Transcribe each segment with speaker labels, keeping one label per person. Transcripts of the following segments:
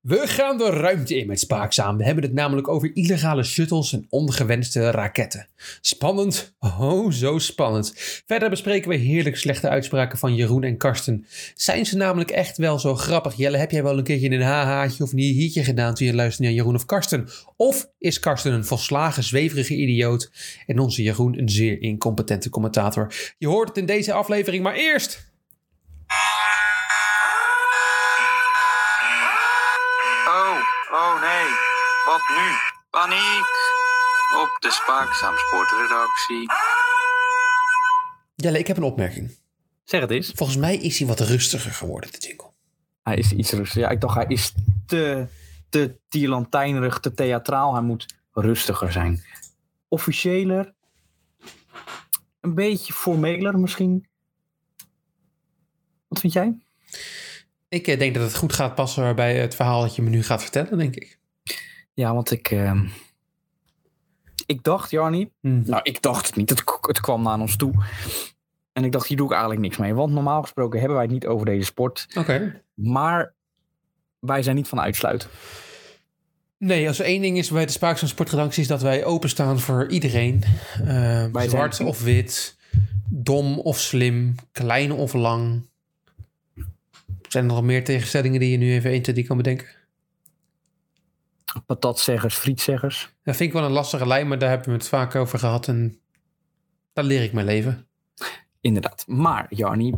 Speaker 1: We gaan de ruimte in met Spaakzaam. We hebben het namelijk over illegale shuttles en ongewenste raketten. Spannend, oh zo spannend. Verder bespreken we heerlijk slechte uitspraken van Jeroen en Karsten. Zijn ze namelijk echt wel zo grappig? Jelle, heb jij wel een keertje een hahaatje of een hiertje gedaan toen je luisterde naar Jeroen of Karsten? Of is Karsten een volslagen zweverige idioot en onze Jeroen een zeer incompetente commentator? Je hoort het in deze aflevering, maar eerst...
Speaker 2: Oh, oh nee. Wat nu? Paniek. Op de Spaakzaam Sportredactie.
Speaker 1: Jelle, ik heb een opmerking.
Speaker 3: Zeg het eens.
Speaker 1: Volgens mij is hij wat rustiger geworden, de jingle.
Speaker 3: Hij is iets rustiger. Ja, ik dacht hij is te, te tierlantijnerig, te theatraal. Hij moet rustiger zijn. Officiëler. Een beetje formeler misschien. Wat vind jij?
Speaker 1: Ik eh, denk dat het goed gaat passen bij het verhaal dat je me nu gaat vertellen, denk ik.
Speaker 3: Ja, want ik... ehm, ik dacht, Jarnie...
Speaker 1: Hmm.
Speaker 3: Nou, ik dacht het niet. Het, k- het kwam naar ons toe. En ik dacht, hier doe ik eigenlijk niks mee. Want normaal gesproken hebben wij het niet over deze sport.
Speaker 1: Oké.
Speaker 3: Maar wij zijn niet van uitsluiten.
Speaker 1: Nee, als er één ding is bij de Spaak van Sportredactie is dat wij openstaan voor iedereen. Eh,
Speaker 3: Wij
Speaker 1: zwart
Speaker 3: zijn-
Speaker 1: of wit, dom of slim, klein of lang. Zijn er nog meer tegenstellingen die je nu even 1, 2, 3 kan bedenken?
Speaker 3: Patatzeggers, frietzeggers.
Speaker 1: Dat vind ik wel een lastige lijn, maar daar hebben we het vaak over gehad. En daar leer ik mijn leven.
Speaker 3: Inderdaad. Maar, Jarnie,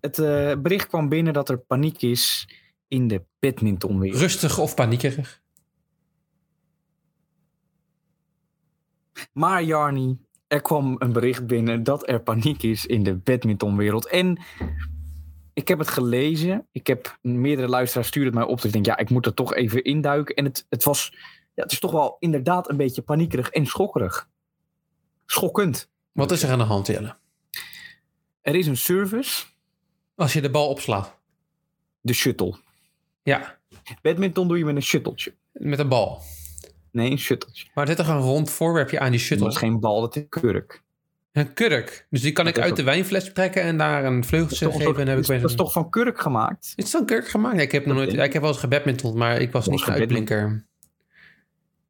Speaker 3: het eh, bericht kwam binnen dat er paniek is in de badmintonwereld.
Speaker 1: Rustig of paniekerig.
Speaker 3: Maar, Jarnie, er kwam een bericht binnen dat er paniek is in de badmintonwereld. En ik heb het gelezen. Ik heb meerdere luisteraars stuurden het mij op. Dus ik denk, ja, ik moet er toch even induiken. En het, het was, ja, het is toch wel inderdaad een beetje paniekerig en schokkerig. Schokkend.
Speaker 1: Wat is er aan de hand, Jelle?
Speaker 3: Er is een service,
Speaker 1: Als je de bal opslaat.
Speaker 3: de shuttle.
Speaker 1: Ja,
Speaker 3: Badminton doe je met een shutteltje.
Speaker 1: met een bal.
Speaker 3: Nee, een shutteltje.
Speaker 1: Maar dit is toch een rond voorwerpje aan die shuttle?
Speaker 3: Dat is geen bal, dat is een kurk.
Speaker 1: Een kurk. Dus die kan ik
Speaker 3: Dat is
Speaker 1: uit de wijnfles trekken en daar een vleugeltje
Speaker 3: toch een
Speaker 1: geven. En
Speaker 3: soort-
Speaker 1: dan heb ik
Speaker 3: is,
Speaker 1: weer
Speaker 3: dat is
Speaker 1: zo'n-
Speaker 3: toch van kurk gemaakt?
Speaker 1: Is het zo'n kurk gemaakt? Ja, ik, heb nog
Speaker 3: Dat
Speaker 1: nooit,
Speaker 3: denk ik.
Speaker 1: ik heb wel eens gebadminteld, maar ik was
Speaker 3: Dat
Speaker 1: niet
Speaker 3: was
Speaker 1: een
Speaker 3: gebadminteld.
Speaker 1: uitblinker.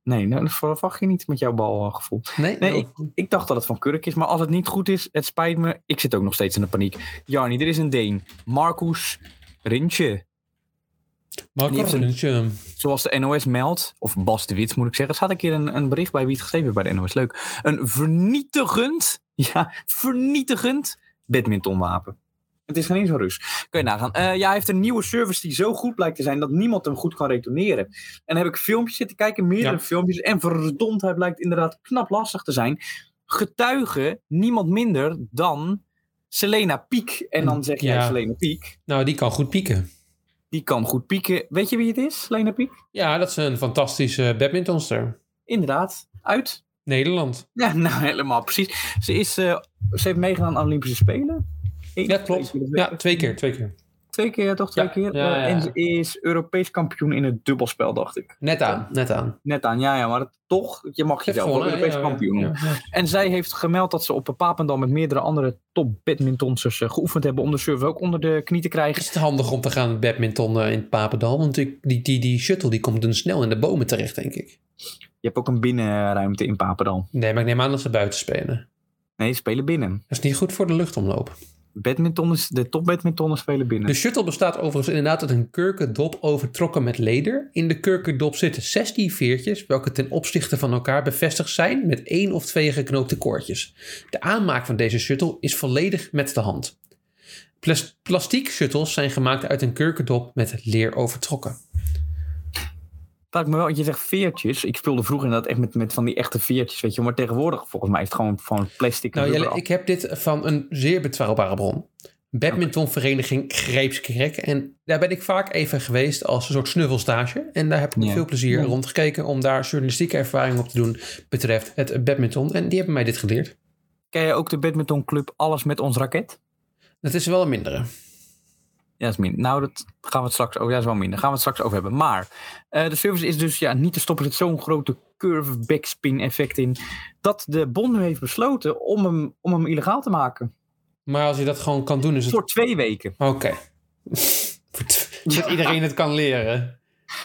Speaker 3: Nee, nou, dat verwacht je niet met jouw balgevoel.
Speaker 1: Nee?
Speaker 3: Nee,
Speaker 1: Oh.
Speaker 3: Ik dacht dat het van kurk is, maar als het niet goed is, het spijt me. Ik zit ook nog steeds in de paniek. Jarni, er is een Deen. Marcus Rintje.
Speaker 1: Maar
Speaker 3: die heeft
Speaker 1: kom,
Speaker 3: een-
Speaker 1: dus, ehm,
Speaker 3: Zoals de NOS meldt, of Bas de Wit moet ik zeggen. Er staat een keer een, een bericht bij wie het geschreven heeft bij de NOS. Leuk. Een vernietigend, ja, vernietigend badmintonwapen. Het is geen eens een rus. Kun je nagaan. Eh, ja, hij heeft een nieuwe service die zo goed blijkt te zijn dat niemand hem goed kan retourneren. En dan heb ik filmpjes zitten kijken, meerdere
Speaker 1: Ja.
Speaker 3: filmpjes. En verdomd, hij blijkt inderdaad knap lastig te zijn. Getuigen niemand minder dan Selena Piek. En dan zeg jij
Speaker 1: Ja.
Speaker 3: Selena Piek.
Speaker 1: nou, die kan goed pieken.
Speaker 3: Die kan goed pieken. Weet je wie het is, Selena Piek?
Speaker 1: Ja, dat is een fantastische badmintonster.
Speaker 3: Inderdaad, uit
Speaker 1: Nederland.
Speaker 3: Ja, nou helemaal precies. Ze, is, eh, ze heeft meegedaan aan de Olympische Spelen. Eén,
Speaker 1: Ja, klopt.
Speaker 3: twee keer.
Speaker 1: Ja, twee keer, twee keer.
Speaker 3: Twee keer, toch? Twee
Speaker 1: Ja,
Speaker 3: keer.
Speaker 1: ja, ja.
Speaker 3: Eh, En ze is Europees kampioen in het dubbelspel, dacht ik.
Speaker 1: Net aan, net aan.
Speaker 3: Net aan, ja, ja maar het- toch, je mag
Speaker 1: Heeft
Speaker 3: jezelf wel
Speaker 1: gewonnen,
Speaker 3: Europees
Speaker 1: ja, ja,
Speaker 3: kampioen noemen.
Speaker 1: ja, ja.
Speaker 3: En zij heeft gemeld dat ze op Papendal met meerdere andere top badmintonsters eh, geoefend hebben om de serve ook onder de knie te krijgen.
Speaker 1: Is het handig om te gaan badmintonnen in Papendal? Want ik, die, die, die shuttle die komt dan snel in de bomen terecht, denk ik.
Speaker 3: Je hebt ook een binnenruimte in Papendal.
Speaker 1: Nee, maar ik neem aan dat ze buiten spelen.
Speaker 3: Nee, ze spelen binnen.
Speaker 1: Dat is niet goed voor de luchtomloop.
Speaker 3: Badmintonners, de top badmintonners spelen binnen.
Speaker 1: De shuttle bestaat overigens inderdaad uit een kurkendop overtrokken met leder. In de kurkendop zitten 16 veertjes, welke ten opzichte van elkaar bevestigd zijn met één of twee geknoopte koordjes. De aanmaak van deze shuttle is volledig met de hand. Plas- Plastiek shuttles zijn gemaakt uit een kurkendop met leer overtrokken.
Speaker 3: Vraag me wel, je zegt veertjes. Ik speelde vroeger inderdaad echt met, met van die echte veertjes, weet je. wel. Maar tegenwoordig, volgens mij, is het gewoon, gewoon plastic. en
Speaker 1: Nou Jelle,
Speaker 3: rubber.
Speaker 1: ik heb dit van een zeer betrouwbare bron. Badmintonvereniging Greepskerk. En daar ben ik vaak even geweest als een soort snuffelstage. En daar heb ik met
Speaker 3: Ja.
Speaker 1: veel plezier
Speaker 3: Ja.
Speaker 1: rondgekeken om daar journalistieke ervaring op te doen betreft het badminton. En die hebben mij dit geleerd.
Speaker 3: Ken jij ook de badmintonclub Alles met ons raket?
Speaker 1: Dat is wel een mindere.
Speaker 3: Ja, dat is minder. Nou, dat gaan we het straks over. Ja, dat is wel minder. Gaan we het straks over hebben. Maar eh, de service is dus ja, niet te stoppen. Er zit zo'n grote curve backspin effect in. Dat de bond nu heeft besloten om hem, om hem illegaal te maken.
Speaker 1: Maar als je dat gewoon kan doen, is het...
Speaker 3: Voor twee weken.
Speaker 1: Oké. Dat iedereen het kan leren.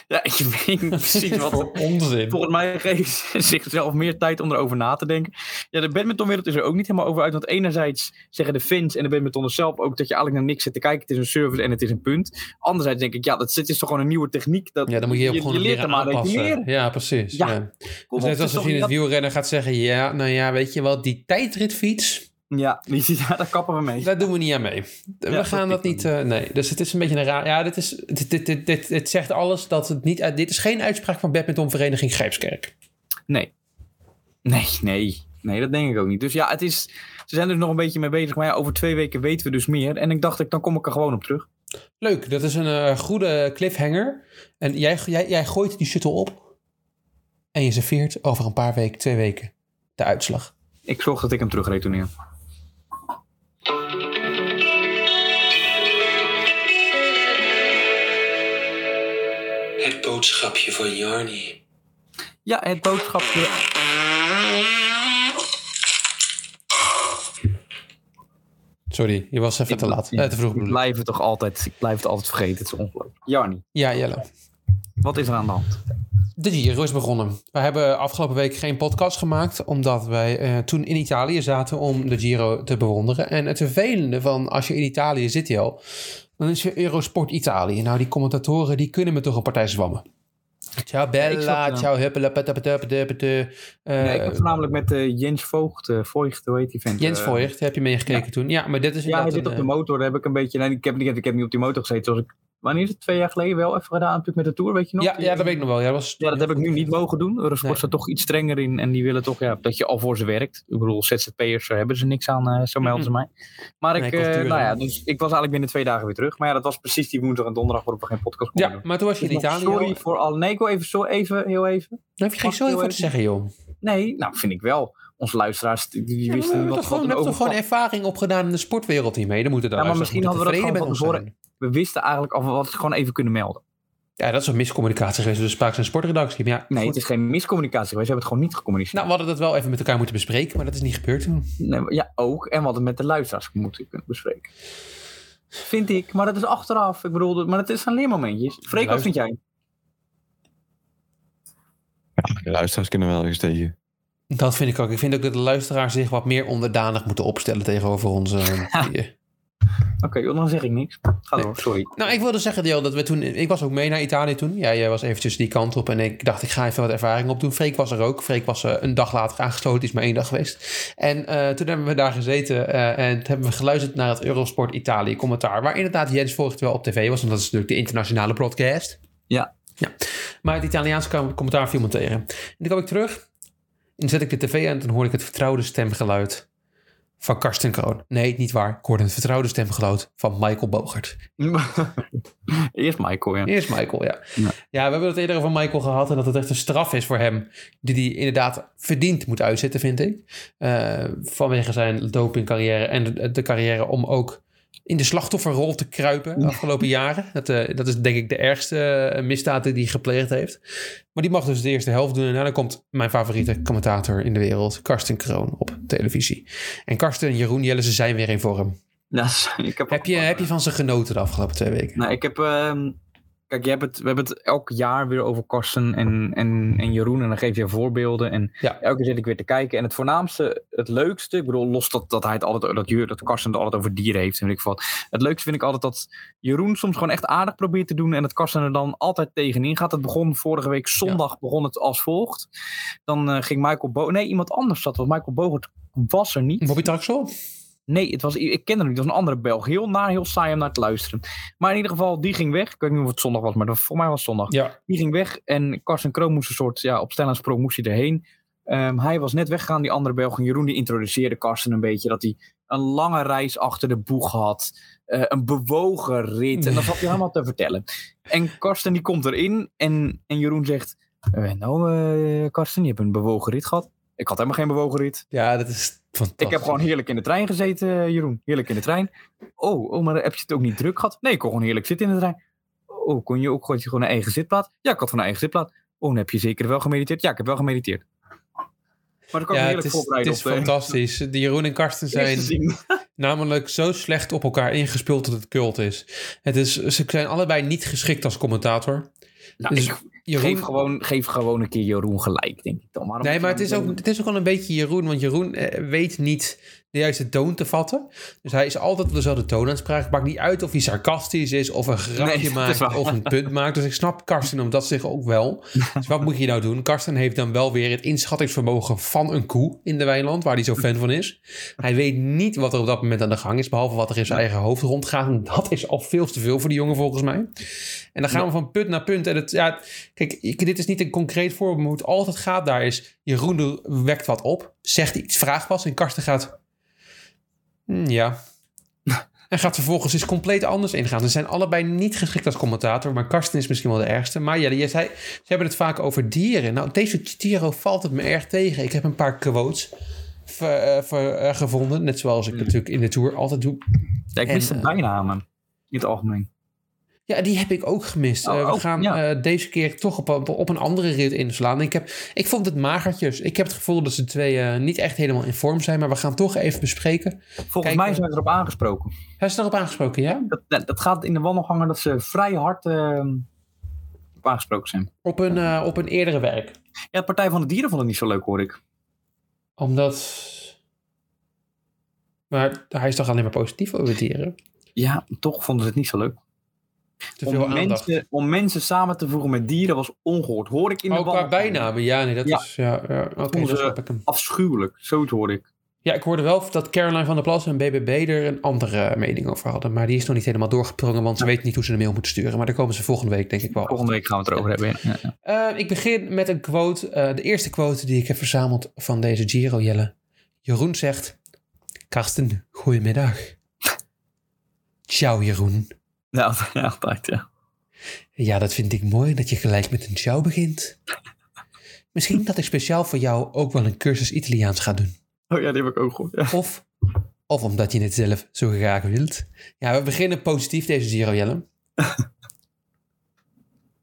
Speaker 3: Ja, je weet niet precies wat
Speaker 1: Voor onzin.
Speaker 3: Volgens mij geeft ze zichzelf meer tijd om erover na te denken. Ja, de badmintonwereld is er ook niet helemaal over uit. Want enerzijds zeggen de fans en de badmintonners zelf ook dat je eigenlijk naar niks zit te kijken. Het is een service en het is een punt. Anderzijds denk ik, ja, dat dit is toch gewoon een nieuwe techniek. Dat,
Speaker 1: Ja, dan moet je, je gewoon
Speaker 3: leert
Speaker 1: leren
Speaker 3: er maar dat je
Speaker 1: aanpassen.
Speaker 3: leert.
Speaker 1: Ja, precies.
Speaker 3: Ja,
Speaker 1: Ja.
Speaker 3: Kom
Speaker 1: Dus
Speaker 3: op,
Speaker 1: net
Speaker 3: het
Speaker 1: als
Speaker 3: is
Speaker 1: als
Speaker 3: toch
Speaker 1: je in het
Speaker 3: niet
Speaker 1: wielrennen gaat zeggen, ja, nou ja, weet je wat, die tijdritfiets,
Speaker 3: dat- Ja, ja, daar kappen we mee.
Speaker 1: Daar doen we niet aan mee. We
Speaker 3: dat
Speaker 1: gaan dat
Speaker 3: pikt
Speaker 1: niet. eh, nee, dus het is een beetje een raar. Ja, dit, is, dit, dit, dit, dit, dit zegt alles dat het niet. uit- dit is geen uitspraak van badmintonvereniging Grijpskerk.
Speaker 3: Nee. Nee, nee. Nee, dat denk ik ook niet. Dus ja, het is, ze zijn er nog een beetje mee bezig. Maar ja, over twee weken weten we dus meer. En ik dacht, ik, dan kom ik er gewoon op terug.
Speaker 1: Leuk, dat is een eh, goede cliffhanger. En jij, jij, jij gooit die shuttle op. En je serveert over een paar weken, twee weken, de uitslag.
Speaker 3: Ik zorg dat ik hem terugretourneer.
Speaker 1: Het boodschapje van Jarni.
Speaker 3: Ja, het boodschapje.
Speaker 1: Sorry, je was even te laat. Eh, te vroeg
Speaker 3: Ik
Speaker 1: bedoel ik.
Speaker 3: blijf het toch altijd, ik blijf het altijd vergeten. Het is ongelooflijk. Jarni,
Speaker 1: Ja, Jelle.
Speaker 3: wat is er aan de hand?
Speaker 1: De Giro is begonnen. We hebben afgelopen week geen podcast gemaakt, omdat wij eh, toen in Italië zaten om de Giro te bewonderen. En het vervelende van als je in Italië zit, Jel, dan is je Eurosport Italië. Nou, die commentatoren die kunnen me toch een partij zwammen. Ciao
Speaker 3: ik snap
Speaker 1: bella,
Speaker 3: het wel.
Speaker 1: ciao huppele, putte, putte, putte, putte. Eh,
Speaker 3: Nee, ik ben voornamelijk met eh, Jens Voogd, eh Voigt, hoe heet die vent?
Speaker 1: Jens
Speaker 3: Eh,
Speaker 1: Voigt, heb je meegekeken toen? Ja, maar dit is
Speaker 3: Ja, hij
Speaker 1: inderdaad
Speaker 3: zit
Speaker 1: een,
Speaker 3: op de
Speaker 1: eh,
Speaker 3: motor, daar heb ik een beetje... Nee, ik, heb, niet- ik heb niet op die motor gezeten, zoals ik... Wanneer is het? Twee jaar geleden wel even gedaan, natuurlijk met de Tour, weet je nog?
Speaker 1: eh, ja,
Speaker 3: Die-
Speaker 1: ja, dat weet ik nog wel. Ja, dat, was,
Speaker 3: Ja, dat heb ik nu niet mogen doen. Eurosport
Speaker 1: Nee.
Speaker 3: staat toch iets strenger in. En die willen toch ja, dat je al voor ze werkt. Ik bedoel, ZZP'ers daar hebben ze niks aan, eh, zo melden ze mij. Maar ik,
Speaker 1: Nee,
Speaker 3: eh,
Speaker 1: cultuur,
Speaker 3: nou ja,
Speaker 1: hè.
Speaker 3: dus ik was eigenlijk binnen twee dagen weer terug. Maar ja, dat was precies die woensdag en donderdag waarop we geen podcast konden
Speaker 1: Ja,
Speaker 3: doen.
Speaker 1: maar toen was je in
Speaker 3: Dus nog
Speaker 1: Italië.
Speaker 3: sorry voor al. Nee, ik wil even, zo, even, heel even.
Speaker 1: Dan heb je geen
Speaker 3: Mag ik
Speaker 1: zooi
Speaker 3: heel
Speaker 1: voor te
Speaker 3: even-
Speaker 1: zeggen, joh.
Speaker 3: Nee, nou vind ik wel. Onze luisteraars, die, die
Speaker 1: Ja, maar we
Speaker 3: wisten niet
Speaker 1: hebben
Speaker 3: wat
Speaker 1: toch
Speaker 3: wat
Speaker 1: gewoon,
Speaker 3: er
Speaker 1: we hebben toch gewoon
Speaker 3: overkwam.
Speaker 1: ervaring opgedaan in de sportwereld hiermee. Dan moeten de
Speaker 3: Ja, maar
Speaker 1: luisteraars
Speaker 3: misschien
Speaker 1: moeten
Speaker 3: hadden we dat
Speaker 1: tevreden
Speaker 3: gewoon
Speaker 1: met ons
Speaker 3: We wisten eigenlijk al wat we gewoon even kunnen melden.
Speaker 1: zijn. Ja, dat is een miscommunicatie geweest door de Spaaks- en Sportredactie. Maar ja,
Speaker 3: Nee,
Speaker 1: goed.
Speaker 3: het is geen miscommunicatie geweest. Ze hebben het gewoon niet gecommuniceerd.
Speaker 1: Nou, we hadden dat wel even met elkaar moeten bespreken, maar dat is niet gebeurd toen.
Speaker 3: Nee, ja, ook. En wat het met de luisteraars moeten kunnen bespreken. Vind ik. Maar dat is achteraf. Ik bedoel, dat- maar het is een leermomentjes. Freek, wat
Speaker 1: Luister-
Speaker 3: vind jij?
Speaker 4: De luisteraars kunnen wel eens tegen.
Speaker 1: Dat vind ik ook. Ik vind ook dat de luisteraars zich wat meer onderdanig moeten opstellen tegenover onze... eh,
Speaker 3: Oké, joh, dan zeg ik niks. Ga door, sorry.
Speaker 1: nou, ik wilde zeggen, Deel, dat we toen... Ik was ook mee naar Italië toen. Ja, jij eh, was eventjes die kant op en ik dacht, ik ga even wat ervaring opdoen. Freek was er ook. Freek was eh, een dag later aangestoten. Die is maar één dag geweest. En eh, toen hebben we daar gezeten eh, en toen hebben we geluisterd naar het Eurosport Italië commentaar. Waar inderdaad Jens vorig wel op tv was, want dat is natuurlijk de internationale broadcast.
Speaker 3: Ja.
Speaker 1: ja. Maar het Italiaanse kam- commentaar viel me tegen. En toen kwam ik terug en dan zet ik de tv aan en dan hoor ik het vertrouwde stemgeluid van Karsten Kroon. Nee, niet waar. Ik hoorde het vertrouwde stemgeluid van Michael Bogert.
Speaker 3: Eerst Michael, ja.
Speaker 1: Eerst Michael, ja. ja.
Speaker 3: Ja.
Speaker 1: we hebben het eerder over Michael gehad en dat het echt een straf is voor hem. Die hij inderdaad verdiend moet uitzitten, vind ik. Eh, vanwege zijn dopingcarrière en de, de carrière om ook in de slachtofferrol te kruipen de afgelopen jaren. Dat, eh, dat is denk ik de ergste eh, misdaad die hij gepleegd heeft. Maar die mag dus de eerste helft doen. En daarna komt mijn favoriete commentator in de wereld, Karsten Kroon, op televisie. En Karsten en Jeroen Jelle, ze zijn weer in vorm.
Speaker 3: Ja, sorry, ik heb,
Speaker 1: Heb je, heb je van ze genoten de afgelopen twee weken?
Speaker 3: Nou, ik heb... ehm, Kijk, je hebt het, we hebben het elk jaar weer over Karsten en, en, en Jeroen. En dan geef je voorbeelden. En
Speaker 1: Ja.
Speaker 3: elke keer zit ik weer te kijken. En het voornaamste, het leukste. Ik bedoel, los dat, dat hij het altijd, dat, Jur- dat Karsten het altijd over dieren heeft. En weet ik wat. Het leukste vind ik altijd dat Jeroen soms gewoon echt aardig probeert te doen. En dat Karsten er dan altijd tegenin gaat. Het begon vorige week zondag begon het als volgt. Dan eh, ging Michael Bo. Nee, iemand anders zat. Want Michael Bogert was er niet.
Speaker 1: Bobby Traxel?
Speaker 3: Nee, het was, ik ken hem niet. Het was een andere Belg. Heel naar, heel saai om naar te luisteren. Maar in ieder geval, die ging weg. Ik weet niet of het zondag was, maar dat- voor mij was het zondag.
Speaker 1: Ja.
Speaker 3: Die ging weg en Carsten Kroon moest een soort, ja, op sprong moest hij erheen. Ehm, hij was net weggegaan, die andere Belg. En Jeroen die introduceerde Carsten een beetje. Dat hij een lange reis achter de boeg had. eh, een bewogen rit. En dat had hij helemaal te vertellen. En Carsten die komt erin en, en Jeroen zegt... "Eh, nou, eh, Carsten, je hebt een bewogen rit gehad. Ik had helemaal geen bewogen rit.
Speaker 1: Ja, dat is fantastisch.
Speaker 3: Ik heb gewoon heerlijk in de trein gezeten, eh, Jeroen. Heerlijk in de trein. Oh, oh, maar heb je het ook niet druk gehad? Nee, ik kon gewoon heerlijk zitten in de trein. Oh, kon je ook had je gewoon een eigen zitplaats? Ja, ik had gewoon een eigen zitplaats. Oh, dan heb je zeker wel gemediteerd? Ja, ik heb wel gemediteerd. Maar dan kan ik
Speaker 1: ja,
Speaker 3: me
Speaker 1: het
Speaker 3: heerlijk
Speaker 1: is, het
Speaker 3: voorbereiden
Speaker 1: is
Speaker 3: op de-
Speaker 1: fantastisch. De Jeroen en Karsten zijn
Speaker 3: eerste zin.
Speaker 1: namelijk zo slecht op elkaar ingespeeld dat het cult is. Het is. Ze zijn allebei niet geschikt als commentator.
Speaker 3: Nou,
Speaker 1: Dus
Speaker 3: ik
Speaker 1: Jeroen,
Speaker 3: geef, gewoon, geef gewoon een keer Jeroen gelijk, denk ik dan. Waarom
Speaker 1: nee,
Speaker 3: moet
Speaker 1: maar
Speaker 3: je
Speaker 1: het is,
Speaker 3: dan-
Speaker 1: ook, het is ook wel een beetje Jeroen, want Jeroen eh, weet niet de juiste toon te vatten. Dus hij is altijd op dezelfde toon aan het spreken. Het maakt niet uit of hij sarcastisch is, of een grapje
Speaker 3: Nee, dat is
Speaker 1: maakt,
Speaker 3: waar.
Speaker 1: of een punt maakt. Dus ik snap Karsten omdat zich ook wel. Dus wat moet je nou doen? Karsten heeft dan wel weer het inschattingsvermogen van een koe in de weiland, waar hij zo fan van is. Hij weet niet wat er op dat moment aan de gang is, behalve wat er in zijn eigen hoofd rondgaat. En dat is al veel te veel voor die jongen volgens mij. En dan gaan we van punt naar punt. En het, ja, kijk, ik- dit is niet een concreet voorbeeld, maar hoe het altijd gaat daar is... Jeroen doe- wekt wat op, zegt iets, vraagt wat en Karsten gaat... "Hmm, ja. En gaat vervolgens iets compleet anders ingaan. Ze zijn allebei niet geschikt als commentator, maar Karsten is misschien wel de ergste. Maar ja, je zei, ze hebben het vaak over dieren. Nou, deze Tiro valt het me erg tegen. Ik heb een paar quotes ver- eh, ver- eh, gevonden, net zoals
Speaker 3: Hmm.
Speaker 1: ik natuurlijk in de tour altijd doe.
Speaker 3: Ja, ik
Speaker 1: En,
Speaker 3: mis de
Speaker 1: eh,
Speaker 3: bijnamen. In het algemeen.
Speaker 1: Ja, die heb ik ook gemist.
Speaker 3: Oh,
Speaker 1: Eh, we
Speaker 3: oh,
Speaker 1: gaan
Speaker 3: ja.
Speaker 1: eh, deze keer toch op, op, op een andere rit inslaan. Ik, heb, ik vond het magertjes. Ik heb het gevoel dat ze twee eh, niet echt helemaal in vorm zijn. Maar we gaan het toch even bespreken.
Speaker 3: Volgens
Speaker 1: kijk,
Speaker 3: mij
Speaker 1: eh,
Speaker 3: zijn ze erop aangesproken.
Speaker 1: Hij is erop aangesproken, ja?
Speaker 3: Dat, dat dat gaat in de wandelgangen dat ze vrij hard eh, op aangesproken zijn.
Speaker 1: Op een, eh, op een eerdere werk.
Speaker 3: Ja, de Partij van de Dieren vond het niet zo leuk, hoor ik.
Speaker 1: Omdat... Maar hij is toch alleen maar positief over dieren?
Speaker 3: Ja, toch vonden ze het niet zo leuk.
Speaker 1: Te veel
Speaker 3: Om
Speaker 1: aandacht.
Speaker 3: mensen, om mensen samen te voegen met dieren was ongehoord. Hoor ik in de
Speaker 1: Ook qua
Speaker 3: wandelgangen.
Speaker 1: bijnamen, ja, nee, dat
Speaker 3: Ja.
Speaker 1: is... Ja, ja. Oké,
Speaker 3: Onze-
Speaker 1: zo snap ik hem.
Speaker 3: Afschuwelijk, zoiets hoor ik.
Speaker 1: Ja, ik hoorde wel dat Caroline van der Plas en BBB er een andere mening over hadden. Maar die is nog niet helemaal doorgeprongen, want ze weten niet hoe ze een mail moeten sturen. Maar daar komen ze volgende week denk ik wel
Speaker 3: Volgende week gaan we het erover hebben. ja. Ja.
Speaker 1: Eh, ik begin met een quote, eh, de eerste quote die ik heb verzameld van deze Giro Jelle. Jeroen zegt, Karsten, goedemiddag. Ciao Jeroen.
Speaker 3: Nou, ja, altijd, ja.
Speaker 1: Ja, dat vind ik mooi dat je gelijk met een ciao begint. Misschien dat ik speciaal voor jou ook wel een cursus Italiaans ga doen.
Speaker 3: Oh ja, die heb ik ook gehoord. Ja.
Speaker 1: Of, of omdat je het zelf zo graag wilt. Ja, we beginnen positief deze Giro, Jelle.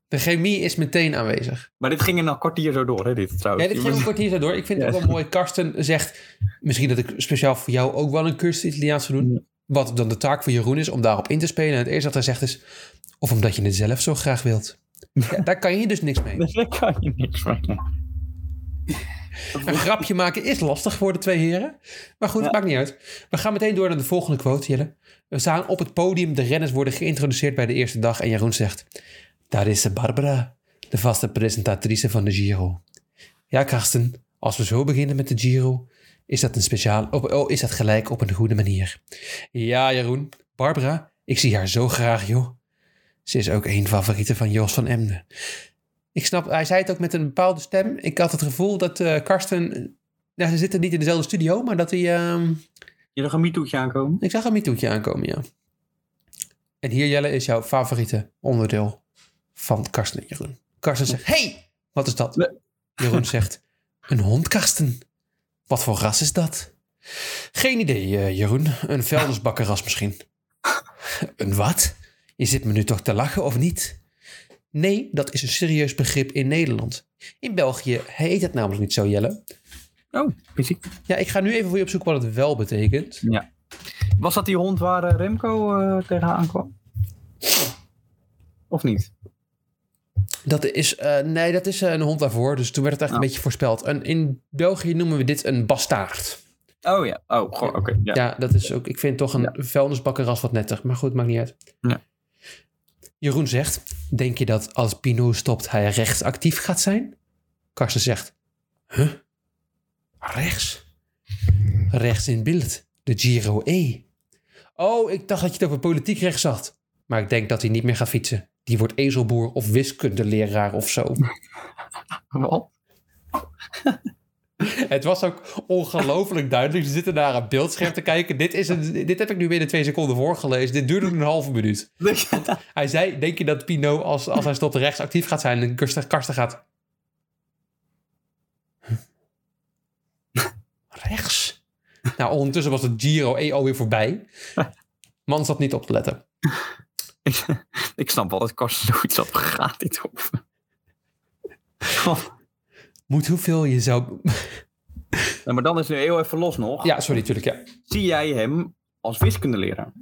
Speaker 1: De chemie is meteen aanwezig.
Speaker 3: Maar dit ging in een kwartier zo door, hè, dit trouwens.
Speaker 1: Ja, dit
Speaker 3: Je
Speaker 1: ging een
Speaker 3: moet-
Speaker 1: kwartier zo door. Ik vind het ook wel mooi. Karsten zegt misschien dat ik speciaal voor jou ook wel een cursus Italiaans ga doen. Wat dan de taak van Jeroen is om daarop in te spelen. En het eerste wat hij zegt is, of omdat je het zelf zo graag wilt. Ja, daar kan je dus niks mee.
Speaker 3: Daar kan je niks mee.
Speaker 1: Een grapje maken is lastig voor de twee heren. Maar goed,
Speaker 3: Ja.
Speaker 1: maakt niet uit. We gaan meteen door naar de volgende quote, Jelle. We staan op het podium. De renners worden geïntroduceerd bij de eerste dag. En Jeroen zegt... Daar is de Barbara, de vaste presentatrice van de Giro. Ja, Karsten. Als we zo beginnen met de Giro... Is dat, een speciaal, op, oh, is dat gelijk op een goede manier. Ja, Jeroen. Barbara, ik zie haar zo graag, joh. Ze is ook een favoriete van Jos van Emden. Ik snap, hij zei het ook met een bepaalde stem. Ik had het gevoel dat eh, Karsten... Nou, ze zitten niet in dezelfde studio, maar dat hij... ehm,
Speaker 3: Je zag een MeToo'tje aankomen.
Speaker 1: ik zag een MeToo'tje aankomen, ja. En hier, Jelle, is jouw favoriete onderdeel van Karsten en Jeroen. Karsten zegt, hey, wat is dat?
Speaker 3: Nee.
Speaker 1: Jeroen zegt, een hond, Karsten. Wat voor ras is dat? Geen idee, eh, Jeroen. Een vuilnisbakkerras misschien. Een wat? Je zit me nu toch te lachen, of niet? Nee, dat is een serieus begrip in Nederland. In België heet het namelijk niet zo, Jelle.
Speaker 3: Oh, fysiek.
Speaker 1: Ja, ik ga nu even voor je opzoeken wat het wel betekent.
Speaker 3: Was dat die hond waar eh, Remco eh, tegenaan kwam? Of niet?
Speaker 1: Dat is, eh, nee, dat is eh, een hond daarvoor. Dus toen werd het eigenlijk een beetje voorspeld. En in België noemen we dit een bastaard.
Speaker 3: Oh ja. Oh, goh, oké. ja.
Speaker 1: Ja. dat is ook, ik vind toch een
Speaker 3: Ja.
Speaker 1: vuilnisbakkerras wat netter. Maar goed, maakt niet uit.
Speaker 3: Ja.
Speaker 1: Jeroen zegt, denk je dat als Pino stopt hij rechts actief gaat zijn? Karsten zegt, huh? Rechts? Rechts in beeld, de Giro E. Oh, ik dacht dat je het over politiek rechts had. Maar ik denk dat hij niet meer gaat fietsen. Die wordt ezelboer of wiskundeleraar of zo.
Speaker 3: Wat?
Speaker 1: Het was ook ongelooflijk duidelijk. Ze zitten naar een beeldscherm te kijken. Dit, is een, dit heb ik nu binnen twee seconden voorgelezen. Dit duurde een halve minuut. Hij zei, denk je dat Pino, als, als hij stopt, rechts actief gaat zijn... en Karsten, Karsten gaat... Huh? rechts? Nou, ondertussen was het Giro EO weer voorbij. Man zat niet op te letten.
Speaker 3: Ik snap wel dat Karsten zoiets had. Waar Gaat dit over? Goh.
Speaker 1: Moet hoeveel je zou...
Speaker 3: Nou, maar dan is nu heel even los nog.
Speaker 1: Ja, sorry, natuurlijk, ja.
Speaker 3: Zie jij hem als wiskundeleraar?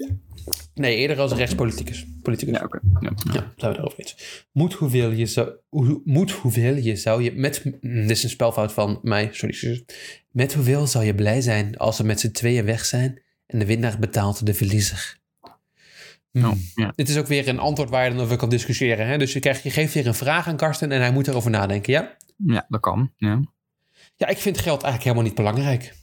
Speaker 1: Nee, eerder als rechtspoliticus. Politicus.
Speaker 3: Ja,
Speaker 1: Ja,
Speaker 3: oké.
Speaker 1: laten we daarover eens. Moet hoeveel je zou... hoe- moet hoeveel je zou je... Met, mm, dit is een spelfout van mij, sorry. zus. Met hoeveel zou je blij zijn als we met z'n tweeën weg zijn... en de winnaar betaalt de verliezer? Hmm.
Speaker 3: Nou, ja.
Speaker 1: Dit is ook weer een antwoord waar je dan over kan discussiëren. Hè? Dus je, krijgt, je geeft weer een vraag aan Karsten en hij moet erover nadenken, ja?
Speaker 3: ja, dat kan. Ja.
Speaker 1: Ja, ik vind geld eigenlijk helemaal niet belangrijk.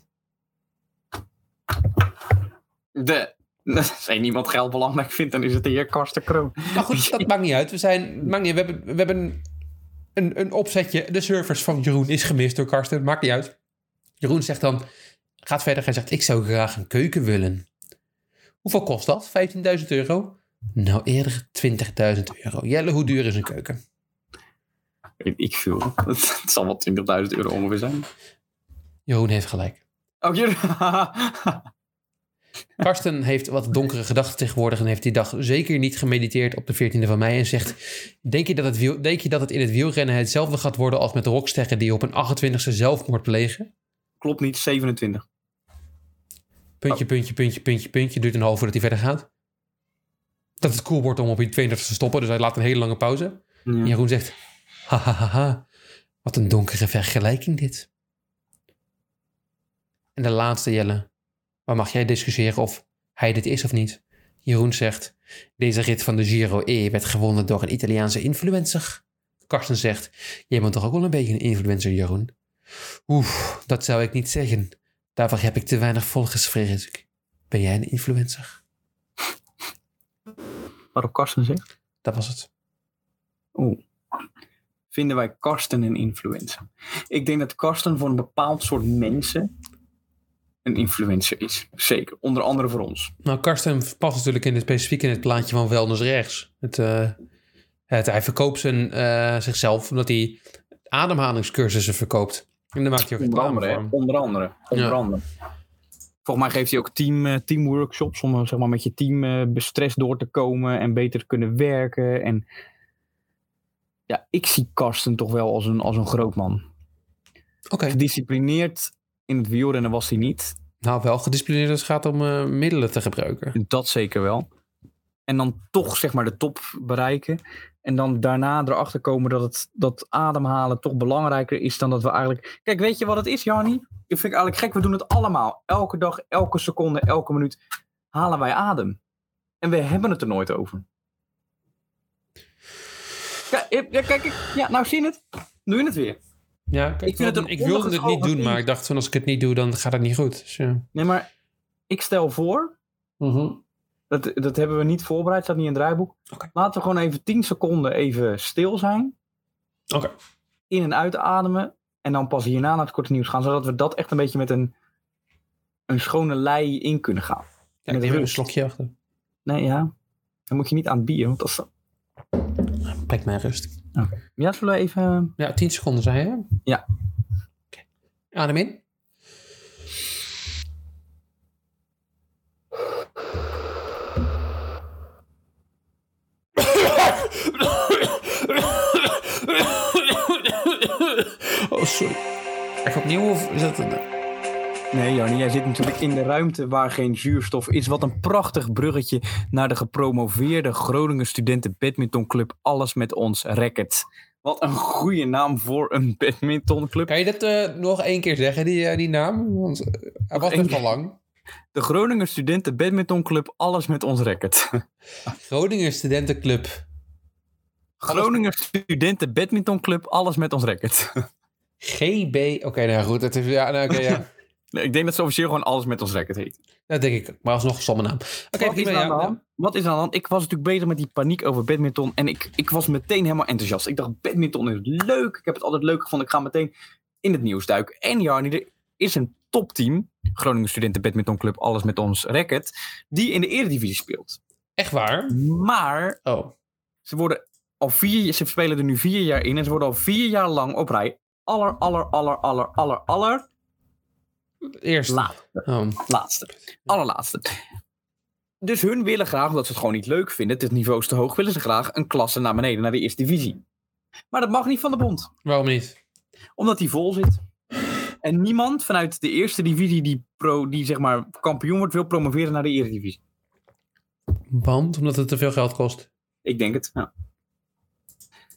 Speaker 3: De, als er niemand geld belangrijk vindt, dan is het de heer Karsten Kroon.
Speaker 1: Maar goed, dat maakt niet uit. We, zijn, maakt niet uit. We hebben, we hebben een, een, een opzetje. De servers van Jeroen is gemist door Karsten. Het Maakt niet uit. Jeroen zegt dan, gaat verder en zegt... ik zou graag een keuken willen. Hoeveel kost dat? 15.000 euro? Nou, eerder 20.000 euro. Jelle, hoe duur is een keuken?
Speaker 3: Weet Ik viel. Het zal wel 20.000 euro ongeveer zijn.
Speaker 1: Jeroen heeft gelijk.
Speaker 3: Oh, hier.
Speaker 1: Karsten heeft wat donkere gedachten tegenwoordig... en heeft die dag zeker niet gemediteerd op de 14e van mei... en zegt, denk je dat het, wiel, denk je dat het in het wielrennen hetzelfde gaat worden... als met de rocksterren die op een 28e zelfmoord plegen?
Speaker 3: Klopt niet, 27.
Speaker 1: Puntje, puntje, puntje, puntje, puntje. Duurt een half uur dat hij verder gaat. Dat het cool wordt om op je 32 te stoppen. Dus hij laat een hele lange pauze. En Jeroen zegt... Ha, ha, ha, ha. Wat een donkere vergelijking dit. En de laatste Jelle. Waar mag jij discussiëren of hij dit is of niet? Jeroen zegt... Deze rit van de Giro E werd gewonnen door een Italiaanse influencer. Karsten zegt... Jij bent toch ook wel een beetje een influencer, Jeroen? Oeh, dat zou ik niet zeggen. Daarvoor heb ik te weinig volgers, vrees ik. Ben jij een influencer?
Speaker 3: Waarop Karsten zegt:
Speaker 1: Dat was het.
Speaker 3: Oeh. Vinden wij Karsten een influencer? Ik denk dat Karsten voor een bepaald soort mensen een influencer is. Zeker. Onder andere voor ons.
Speaker 1: Nou, Karsten past natuurlijk in het specifiek in het plaatje van Wellness Rechts. Het, eh, het, hij verkoopt zijn, eh, zichzelf omdat hij ademhalingscursussen verkoopt. En daar maakt hij ook
Speaker 3: Onder
Speaker 1: reclame
Speaker 3: andere.
Speaker 1: voor.
Speaker 3: hè? Onder andere. Onder
Speaker 1: Ja.
Speaker 3: andere. Volgens mij geeft hij ook team, eh, teamworkshops om eh, zeg maar, met je team eh, stress door te komen en beter te kunnen werken. En ja, ik zie Karsten toch wel als een, als een groot man.
Speaker 1: Oké,
Speaker 3: Gedisciplineerd in het wielrennen was hij niet.
Speaker 1: nou wel gedisciplineerd als het gaat om eh, middelen te gebruiken.
Speaker 3: Dat zeker wel. En dan toch zeg maar de top bereiken. En dan daarna erachter komen dat, het, dat ademhalen toch belangrijker is dan dat we eigenlijk... Kijk, weet je wat het is, Jarni? Dat vind ik eigenlijk gek. We doen het allemaal. Elke dag, elke seconde, elke minuut halen wij adem. En we hebben het er nooit over. Kijk, ja, kijk, ik- ja, nou zie je het. Doe je het weer.
Speaker 1: Ja, kijk,
Speaker 3: Ik vind het een
Speaker 1: ik wilde het niet doen,
Speaker 3: ondergeschoven
Speaker 1: maar ik dacht van als ik het niet doe, dan gaat het niet goed. Dus, ja.
Speaker 3: Nee, maar ik stel voor Mhm. Dat, dat hebben we niet voorbereid, staat niet in het draaiboek.
Speaker 1: Oké.
Speaker 3: Laten we gewoon even 10 seconden even stil zijn.
Speaker 1: Oké.
Speaker 3: In en uitademen. En dan pas hierna naar het korte nieuws gaan. Zodat we dat echt een beetje met een, een schone lei in kunnen gaan.
Speaker 1: Ja, ik
Speaker 3: Met
Speaker 1: neem er een
Speaker 3: rust.
Speaker 1: slokje achter.
Speaker 3: Nee, ja. Dan moet je niet aan het bier. Want dat is...
Speaker 1: Pak mijn rust.
Speaker 3: Ja, zullen we even...
Speaker 1: Ja, 10 seconden zei je? hè?
Speaker 3: Ja.
Speaker 1: Oké. Adem in. Oh, sorry. Even opnieuw of is dat...
Speaker 3: Nee, Jannie, jij zit natuurlijk in de ruimte waar geen zuurstof is. Wat een prachtig bruggetje naar de gepromoveerde Groningen Studenten Badmintonclub. Alles met ons racket. Wat een goede naam voor een badmintonclub.
Speaker 1: Kan je dat eh, nog één keer zeggen, die, eh, die naam? Want eh, hij was
Speaker 3: één
Speaker 1: best wel
Speaker 3: keer.
Speaker 1: lang.
Speaker 3: De Groninger Studenten Badmintonclub, alles met ons racket.
Speaker 1: Groningen Studentenclub.
Speaker 3: Groninger Studenten Badmintonclub, alles met ons racket.
Speaker 1: GB... Oké, nou goed. Het is, ja, nou, oké, ja.
Speaker 3: Nee, Ik denk dat ze officieel gewoon alles met ons racket heet.
Speaker 1: Dat denk ik. ook. Maar alsnog een naam. Oké,
Speaker 3: Wat is
Speaker 1: prima,
Speaker 3: er aan de
Speaker 1: ja.
Speaker 3: hand? Wat is er aan de hand? Ik was natuurlijk bezig met die paniek over badminton en ik, ik was meteen helemaal enthousiast. Ik dacht, badminton is leuk. Ik heb het altijd leuk gevonden. Ik ga meteen in het nieuws duiken. En Jarni, er is een topteam, Groningen Studenten Badmintonclub, alles met ons racket, die in de Eredivisie speelt.
Speaker 1: Echt waar?
Speaker 3: Mm. Maar
Speaker 1: Oh.
Speaker 3: Ze worden al vier, ze spelen er nu vier jaar in en ze worden al vier jaar lang op rij aller, aller, aller, aller, aller, aller
Speaker 1: Eerst.
Speaker 3: laat,
Speaker 1: Oh.
Speaker 3: laatste. Allerlaatste. Dus hun willen graag, omdat ze het gewoon niet leuk vinden, het niveau is te hoog, willen ze graag een klasse naar beneden, naar de eerste divisie. Maar dat mag niet van de bond,
Speaker 1: Waarom niet?
Speaker 3: omdat die vol zit. En niemand vanuit de eerste divisie die, pro, die zeg maar kampioen wordt, wil promoveren naar de eredivisie.
Speaker 1: Want? Omdat het te veel geld kost.
Speaker 3: Ik denk het, ja.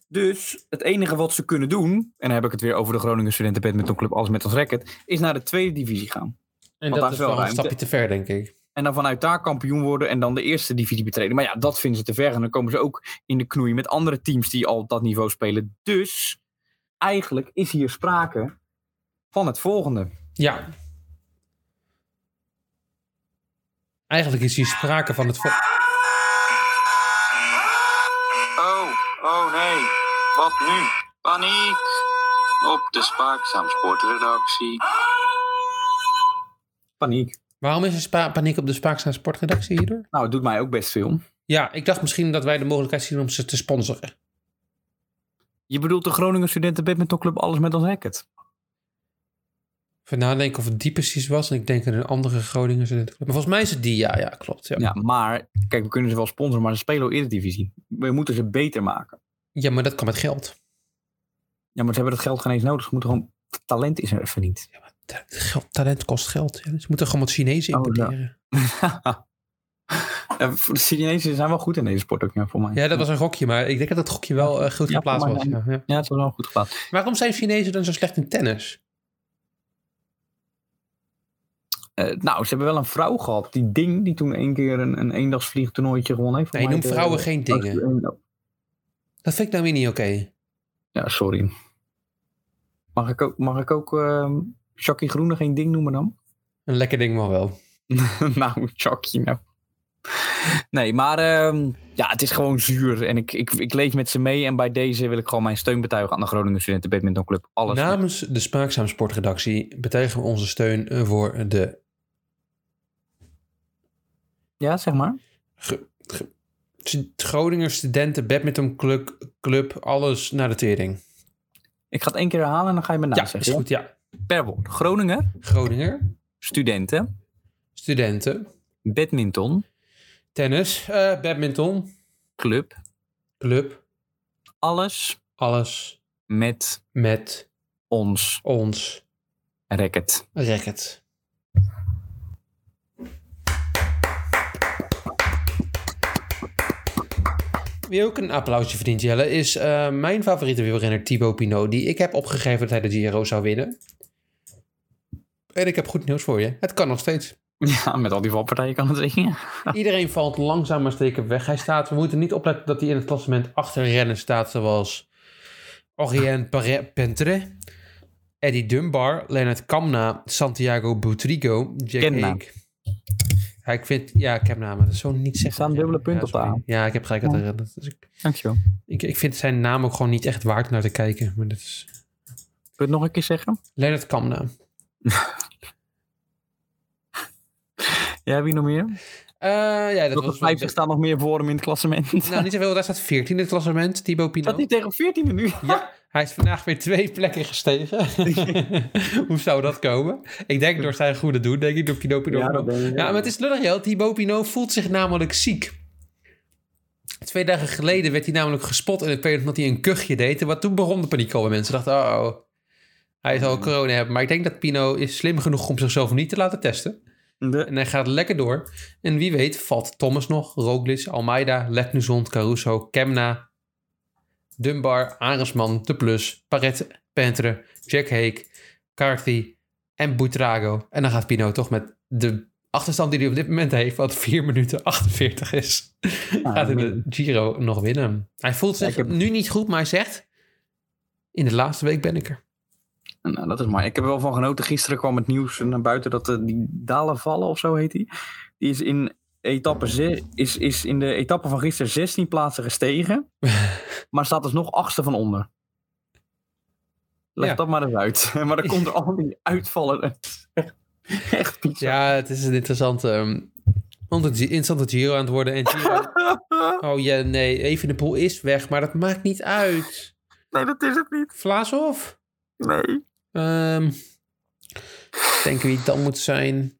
Speaker 3: Dus het enige wat ze kunnen doen, en dan heb ik het weer over de Groningen Studenten Badmintonclub als met ons racket, is naar de tweede divisie gaan.
Speaker 1: En
Speaker 3: daar
Speaker 1: dat
Speaker 3: is
Speaker 1: is
Speaker 3: wel
Speaker 1: wel een
Speaker 3: ruimte.
Speaker 1: stapje te ver, denk ik.
Speaker 3: En dan vanuit daar kampioen worden en dan de eerste divisie betreden. Maar ja, dat vinden ze te ver. En dan komen ze ook in de knoei met andere teams die al op dat niveau spelen. Dus eigenlijk is hier sprake van het volgende.
Speaker 1: Ja. Eigenlijk is hier sprake van het... vo-
Speaker 2: Oh, oh nee. Wat nu? Paniek. Op de Spaakzaam Sportredactie.
Speaker 3: Paniek.
Speaker 1: Waarom is er spa- paniek op de Spaakzaam Sportredactie hierdoor?
Speaker 3: Nou, het doet mij ook best veel.
Speaker 1: Ja, ik dacht misschien dat wij de mogelijkheid zien om ze te sponsoren.
Speaker 3: Je bedoelt de Groningen Studenten Badmintonclub alles met ons racket.
Speaker 1: Even nadenken of het die precies was. En ik denk aan een andere Groningen studentenclub. Maar volgens mij is het die, ja, ja, klopt. Ja,
Speaker 3: Ja, maar kijk, we kunnen ze wel sponsoren, maar ze spelen al eerder divisie. We moeten ze beter maken.
Speaker 1: Ja, maar dat kan met geld.
Speaker 3: Ja, maar ze hebben dat geld geen eens nodig. Ze moeten gewoon... Talent is er even niet.
Speaker 1: Ta- geld talent kost geld. Ja. Dus we moeten gewoon wat Chinezen
Speaker 3: Oh, ja.
Speaker 1: importeren.
Speaker 3: Eh, voor De Chinezen zijn wel goed in deze sport ook, ja, voor mij.
Speaker 1: ja. dat was een gokje. Maar ik denk dat dat gokje wel eh, goed
Speaker 3: Ja,
Speaker 1: geplaatst
Speaker 3: maar
Speaker 1: was.
Speaker 3: dan-
Speaker 1: Ja, ja.
Speaker 3: Ja, het was wel goed geplaatst.
Speaker 1: Waarom zijn Chinezen dan zo slecht in tennis?
Speaker 3: Eh, nou, ze hebben wel een vrouw gehad. Die Ding, die toen één keer een, een eendagsvliegtoernooitje gewonnen heeft.
Speaker 1: Nee,
Speaker 3: Voor
Speaker 1: noem
Speaker 3: mij eh, de-
Speaker 1: vrouwen geen dingen. Dat vind ik nou weer niet oké.
Speaker 3: Ja, sorry. Mag ik ook, mag ik ook ehm Jackie Groene geen ding noemen dan?
Speaker 1: Een lekker ding maar wel.
Speaker 3: nou, Jackie nou. Nee, maar ehm, ja, het is gewoon zuur. En ik, ik, ik leef met ze mee. En bij deze wil ik gewoon mijn steun betuigen aan de Groningen Studenten Badminton Club. Alles.
Speaker 1: Namens de Spaakzaam Sportredactie betuigen we onze steun eh, voor de...
Speaker 3: Ja, zeg maar.
Speaker 1: Ge- ge- Groninger Studenten Badminton Club, club alles naar de tering.
Speaker 3: Ik ga het één keer herhalen en dan ga Nou, je me na
Speaker 1: Ja, is
Speaker 3: zeggen.
Speaker 1: goed, ja.
Speaker 3: Per woord. Groninger,
Speaker 1: Groninger,
Speaker 3: studenten,
Speaker 1: studenten,
Speaker 3: badminton,
Speaker 1: tennis, eh, badminton,
Speaker 3: club,
Speaker 1: club,
Speaker 3: alles
Speaker 1: alles
Speaker 3: met
Speaker 1: met
Speaker 3: ons
Speaker 1: ons
Speaker 3: racket.
Speaker 1: racket. Wie ook een applausje verdient, Jelle, is eh, mijn favoriete wielrenner Thibaut Pinot, die ik heb opgegeven dat hij de Giro zou winnen. En ik heb goed nieuws voor je. Het kan nog steeds.
Speaker 3: Ja, met al die valpartijen kan het zeggen. ja.
Speaker 1: Iedereen valt langzaam maar zeker weg. Hij staat, we moeten niet opletten dat hij in het klassement achter rennen staat, zoals Orient Pare- Pentre, Eddie Dunbar, Leonard Kamna, Santiago Butrigo, Jack
Speaker 3: Kemna.
Speaker 1: Hake. Ja, ik vind, ja, Kemna, maar dat is zo niet zeggen.
Speaker 3: staan dubbele punten op de
Speaker 1: sorry.
Speaker 3: A.
Speaker 1: Ja, ik heb gelijk aan het herinneren. Dus ik,
Speaker 3: Dankjewel.
Speaker 1: ik, ik vind zijn naam ook gewoon niet echt waard om naar te kijken. Maar dat is
Speaker 3: Kun je het nog een keer zeggen?
Speaker 1: Leonard Kamna.
Speaker 3: Ja, wie nog meer?
Speaker 1: Eh, ja, dat
Speaker 3: Tot de
Speaker 1: was...
Speaker 3: 50 staan nog meer voor hem in het klassement.
Speaker 1: Nou, niet zoveel. Daar staat 14 in het klassement. Thibaut Pinot.
Speaker 3: Dat niet tegen 14 nu.
Speaker 1: Ja, hij is vandaag weer twee plekken gestegen. Hoe zou dat komen? Ik denk door zijn goede doen, denk ik, door Pinot Pinot. Pinot. Ja, maar het is lullig, Jel. Thibaut Pinot voelt zich namelijk ziek. Twee dagen geleden werd hij namelijk gespot in het peloton omdat hij een kuchje deed. En wat toen begon de paniek al bij mensen. Dachten, oh, oh, hij zal corona hebben. Maar ik denk dat Pinot is slim genoeg om zichzelf niet te laten testen.
Speaker 3: De-
Speaker 1: En hij gaat lekker door. En wie weet valt Thomas nog, Roglic, Almeida, Leknuzon, Caruso, Kemna, Dunbar, Aresman, De Plus, Paret, Pentre, Jack Hake, Carthy en Boutrago. En dan gaat Pino toch met de achterstand die hij op dit moment heeft, wat 4 minuten 48 is, gaat hij de Giro nog winnen. Hij voelt zich
Speaker 3: Ja, ik heb-
Speaker 1: nu niet goed, maar hij zegt, in de laatste week ben ik er.
Speaker 3: Nou, dat is maar. Ik heb er wel van genoten. Gisteren kwam het nieuws naar buiten dat eh, die dalen vallen of zo heet die. Die is in, etappe ze- is, is in de etappe van gisteren 16 plaatsen gestegen. maar staat dus nog achtste van onder. Leg
Speaker 1: Ja.
Speaker 3: dat maar eens uit. maar dan komt er al die uitvallen. Het is echt, echt bizar.
Speaker 1: Ja, het is een interessante... ehm, want het is een interessante Giro aan het worden. En Giro, Oh ja, nee, even de poel is weg, maar dat maakt niet uit.
Speaker 3: nee, dat is het niet.
Speaker 1: Vlaashoff?
Speaker 3: Nee.
Speaker 1: Ehm, ik denk wie het dan moet zijn.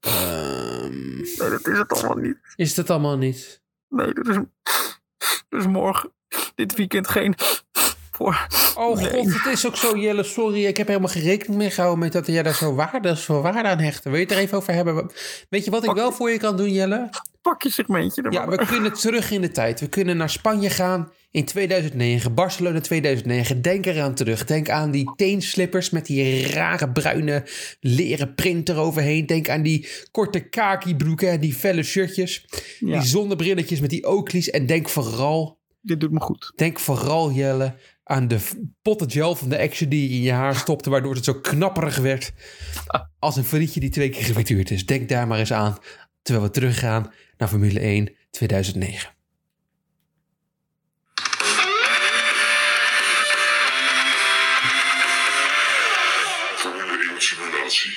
Speaker 1: Ehm,
Speaker 3: Nee, dat is het allemaal niet.
Speaker 1: is dat allemaal niet?
Speaker 3: Nee, dat is, dat is Dus morgen. Dit weekend geen. Voor.
Speaker 1: Oh
Speaker 3: Nee.
Speaker 1: god, het is ook zo, Jelle, sorry. Ik heb helemaal geen rekening mee gehouden met dat jij daar zo waarde, zo waarde aan hechten. Wil je het er even over hebben? Weet je wat ik wel voor je kan doen, Jelle?
Speaker 3: pak je segmentje.
Speaker 1: Ja, we kunnen terug in de tijd. We kunnen naar Spanje gaan in 2009, Barcelona 2009. Denk eraan terug. Denk aan die teenslippers met die rare bruine leren print eroverheen. Denk aan die korte kakibroeken en die felle shirtjes. Die zonnebrilletjes met die Oakleys. En denk vooral,
Speaker 3: dit doet me goed.
Speaker 1: denk vooral Jelle aan de v- potten gel van de action die je in je haar stopte. Waardoor het zo knapperig werd. Als een frietje die twee keer gefrituurd is. Denk daar maar eens aan. Terwijl we teruggaan naar Formule 1 2009.
Speaker 5: Formule 1 simulatie.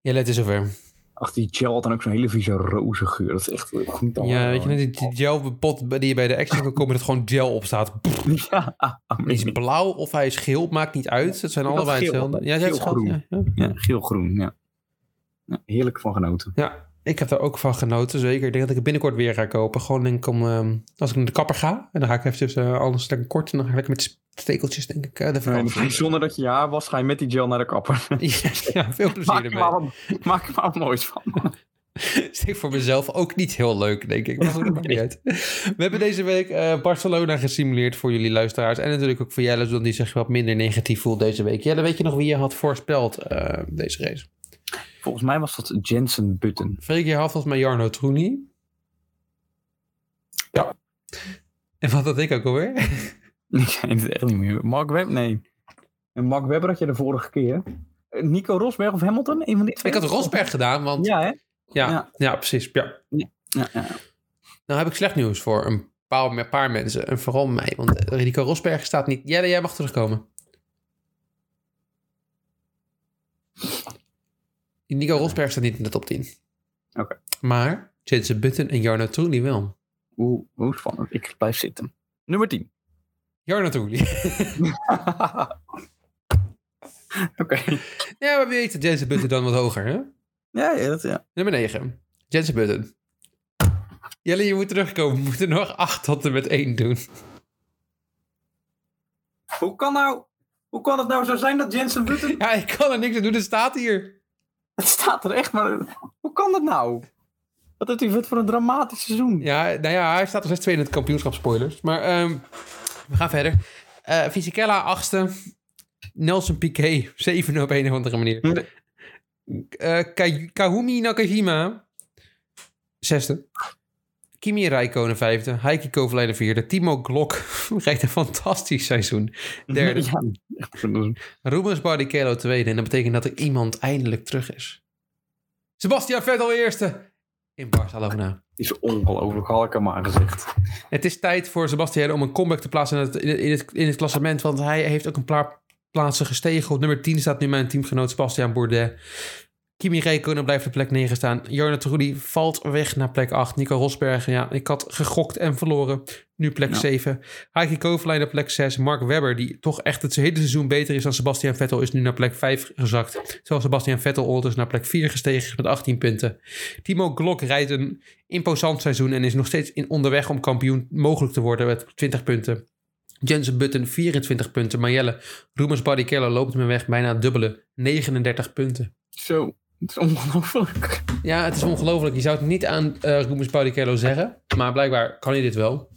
Speaker 1: Jelle, het is zover.
Speaker 3: Ach, die gel had dan ook zo'n hele vieze roze geur. Dat is echt goed.
Speaker 1: Ja, weet je, net die- die gelpot die je bij de action kan komen, dat gewoon gel op staat. Pff,
Speaker 3: Ja, ah,
Speaker 1: Hij is blauw of hij is geel, maakt niet uit. Het zijn
Speaker 3: Ik had
Speaker 1: allebei
Speaker 3: geel.
Speaker 1: hetzelfde. Ja, jij hebt het gehad,
Speaker 3: Geel-groen.
Speaker 1: ja, ja.
Speaker 3: ja, geel-groen, ja. Ja, Heerlijk van genoten.
Speaker 1: Ja, ik heb daar ook van genoten, zeker. Ik denk dat ik het binnenkort weer ga kopen. Gewoon denk ik om, ehm, als ik naar de kapper ga, en dan ga ik even eh, anders lekker kort en dan ga ik lekker met stekeltjes, denk ik, eh, de vakantie.
Speaker 3: Zonder dat je je haar was, ga je met die gel naar de kapper.
Speaker 1: Ja, ja, veel plezier
Speaker 3: Maak er
Speaker 1: ermee.
Speaker 3: maar, wat- maak er maar wat moois van.
Speaker 1: is ik voor mezelf ook niet heel leuk, denk ik. Maar goed, dat maakt niet uit. We hebben deze week eh, Barcelona gesimuleerd voor jullie luisteraars. En natuurlijk ook voor Jelle, dan die zich wat minder negatief voelt deze week. Jelle, weet je nog wie je had voorspeld eh, deze race?
Speaker 3: Volgens mij was dat Jensen Button.
Speaker 1: Freek, je had volgens mij Jarno Truni. Ja. En wat had ik ook alweer?
Speaker 3: Ik weet het echt niet meer. Mark Webb, nee. En Mark Webber had je de vorige keer. Eh, Nico Rosberg of Hamilton? Een van die twee.
Speaker 1: Ik had Rosberg gedaan, want ja,
Speaker 3: Ja, hè?
Speaker 1: ja,
Speaker 3: ja.
Speaker 1: precies. Ja.
Speaker 3: Ja, ja.
Speaker 1: Nou heb ik slecht nieuws voor een paar, een paar mensen. En vooral mij, want Rico Rosberg staat niet... Jelle, jij mag terugkomen. Nico Rosberg staat niet in de top 10.
Speaker 3: Oké.
Speaker 1: Maar Jensen Button en Jarno Trulli wel.
Speaker 3: Oeh, oeh, spannend. Ik blijf zitten. Nummer 10.
Speaker 1: Jarno Trulli.
Speaker 3: Oké.
Speaker 1: ja, maar wie weet Jensen Button dan wat hoger, hè?
Speaker 3: Ja, ja, dat ja.
Speaker 1: Nummer 9. Jensen Button. Jelle, je moet terugkomen. We moeten nog 8 tot en met 1 doen.
Speaker 3: Hoe kan, nou, hoe kan het nou zo zijn dat Jensen Button...
Speaker 1: Ja, ik kan er niks aan doen. Het staat hier.
Speaker 3: Het staat er echt, maar hoe kan dat nou? Wat heeft hij wat voor een dramatisch seizoen?
Speaker 1: Ja, nou ja, hij staat nog steeds tweede in het kampioenschap, spoilers. Maar ehm, we gaan verder. Eh Fisichella, achtste. Nelson Piquet, zevende op een of andere manier.
Speaker 3: Hm.
Speaker 1: Eh, Ka- Kahumi Nakajima, zesde. Kimi Räikkönen, vijfde. Heikki Kovalainen, vierde. Timo Glock rijdt een fantastisch seizoen. Derde.
Speaker 3: Ja, echt een-
Speaker 1: Rubens Barrichello, tweede. En dat betekent dat er iemand eindelijk terug is. Sebastian Vettel, eerste. In Barcelona.
Speaker 3: is ongelooflijk, had ik hem maar gezegd.
Speaker 1: Het is tijd voor Sebastian om een comeback te plaatsen in het, in het, in het, in het klassement. Want hij heeft ook een paar plaatsen gestegen. Op nummer 10 staat nu mijn teamgenoot Sebastian Bourdais. Kimi Räikkönen blijft op plek 9 staan. Jorna Trulli valt weg naar plek 8. Nico Rosberg, ja, ik had gegokt en verloren. Nu plek
Speaker 3: Ja.
Speaker 1: 7. Heikki Kovalainen op plek 6. Mark Webber, die toch echt het hele seizoen beter is dan Sebastian Vettel, is nu naar plek 5 gezakt. Terwijl Sebastian Vettel ondertussen naar plek 4 gestegen is met 18 punten. Timo Glock rijdt een imposant seizoen en is nog steeds in onderweg om kampioen mogelijk te worden met 20 punten. Jensen Button 24 punten. Marjelle, Rubens Barrichello loopt me weg bijna het dubbele 39 punten.
Speaker 3: Zo, het is ongelooflijk.
Speaker 1: Ja, het is ongelooflijk. Je zou het niet aan eh Rubens Barrichello zeggen, maar blijkbaar kan hij dit wel.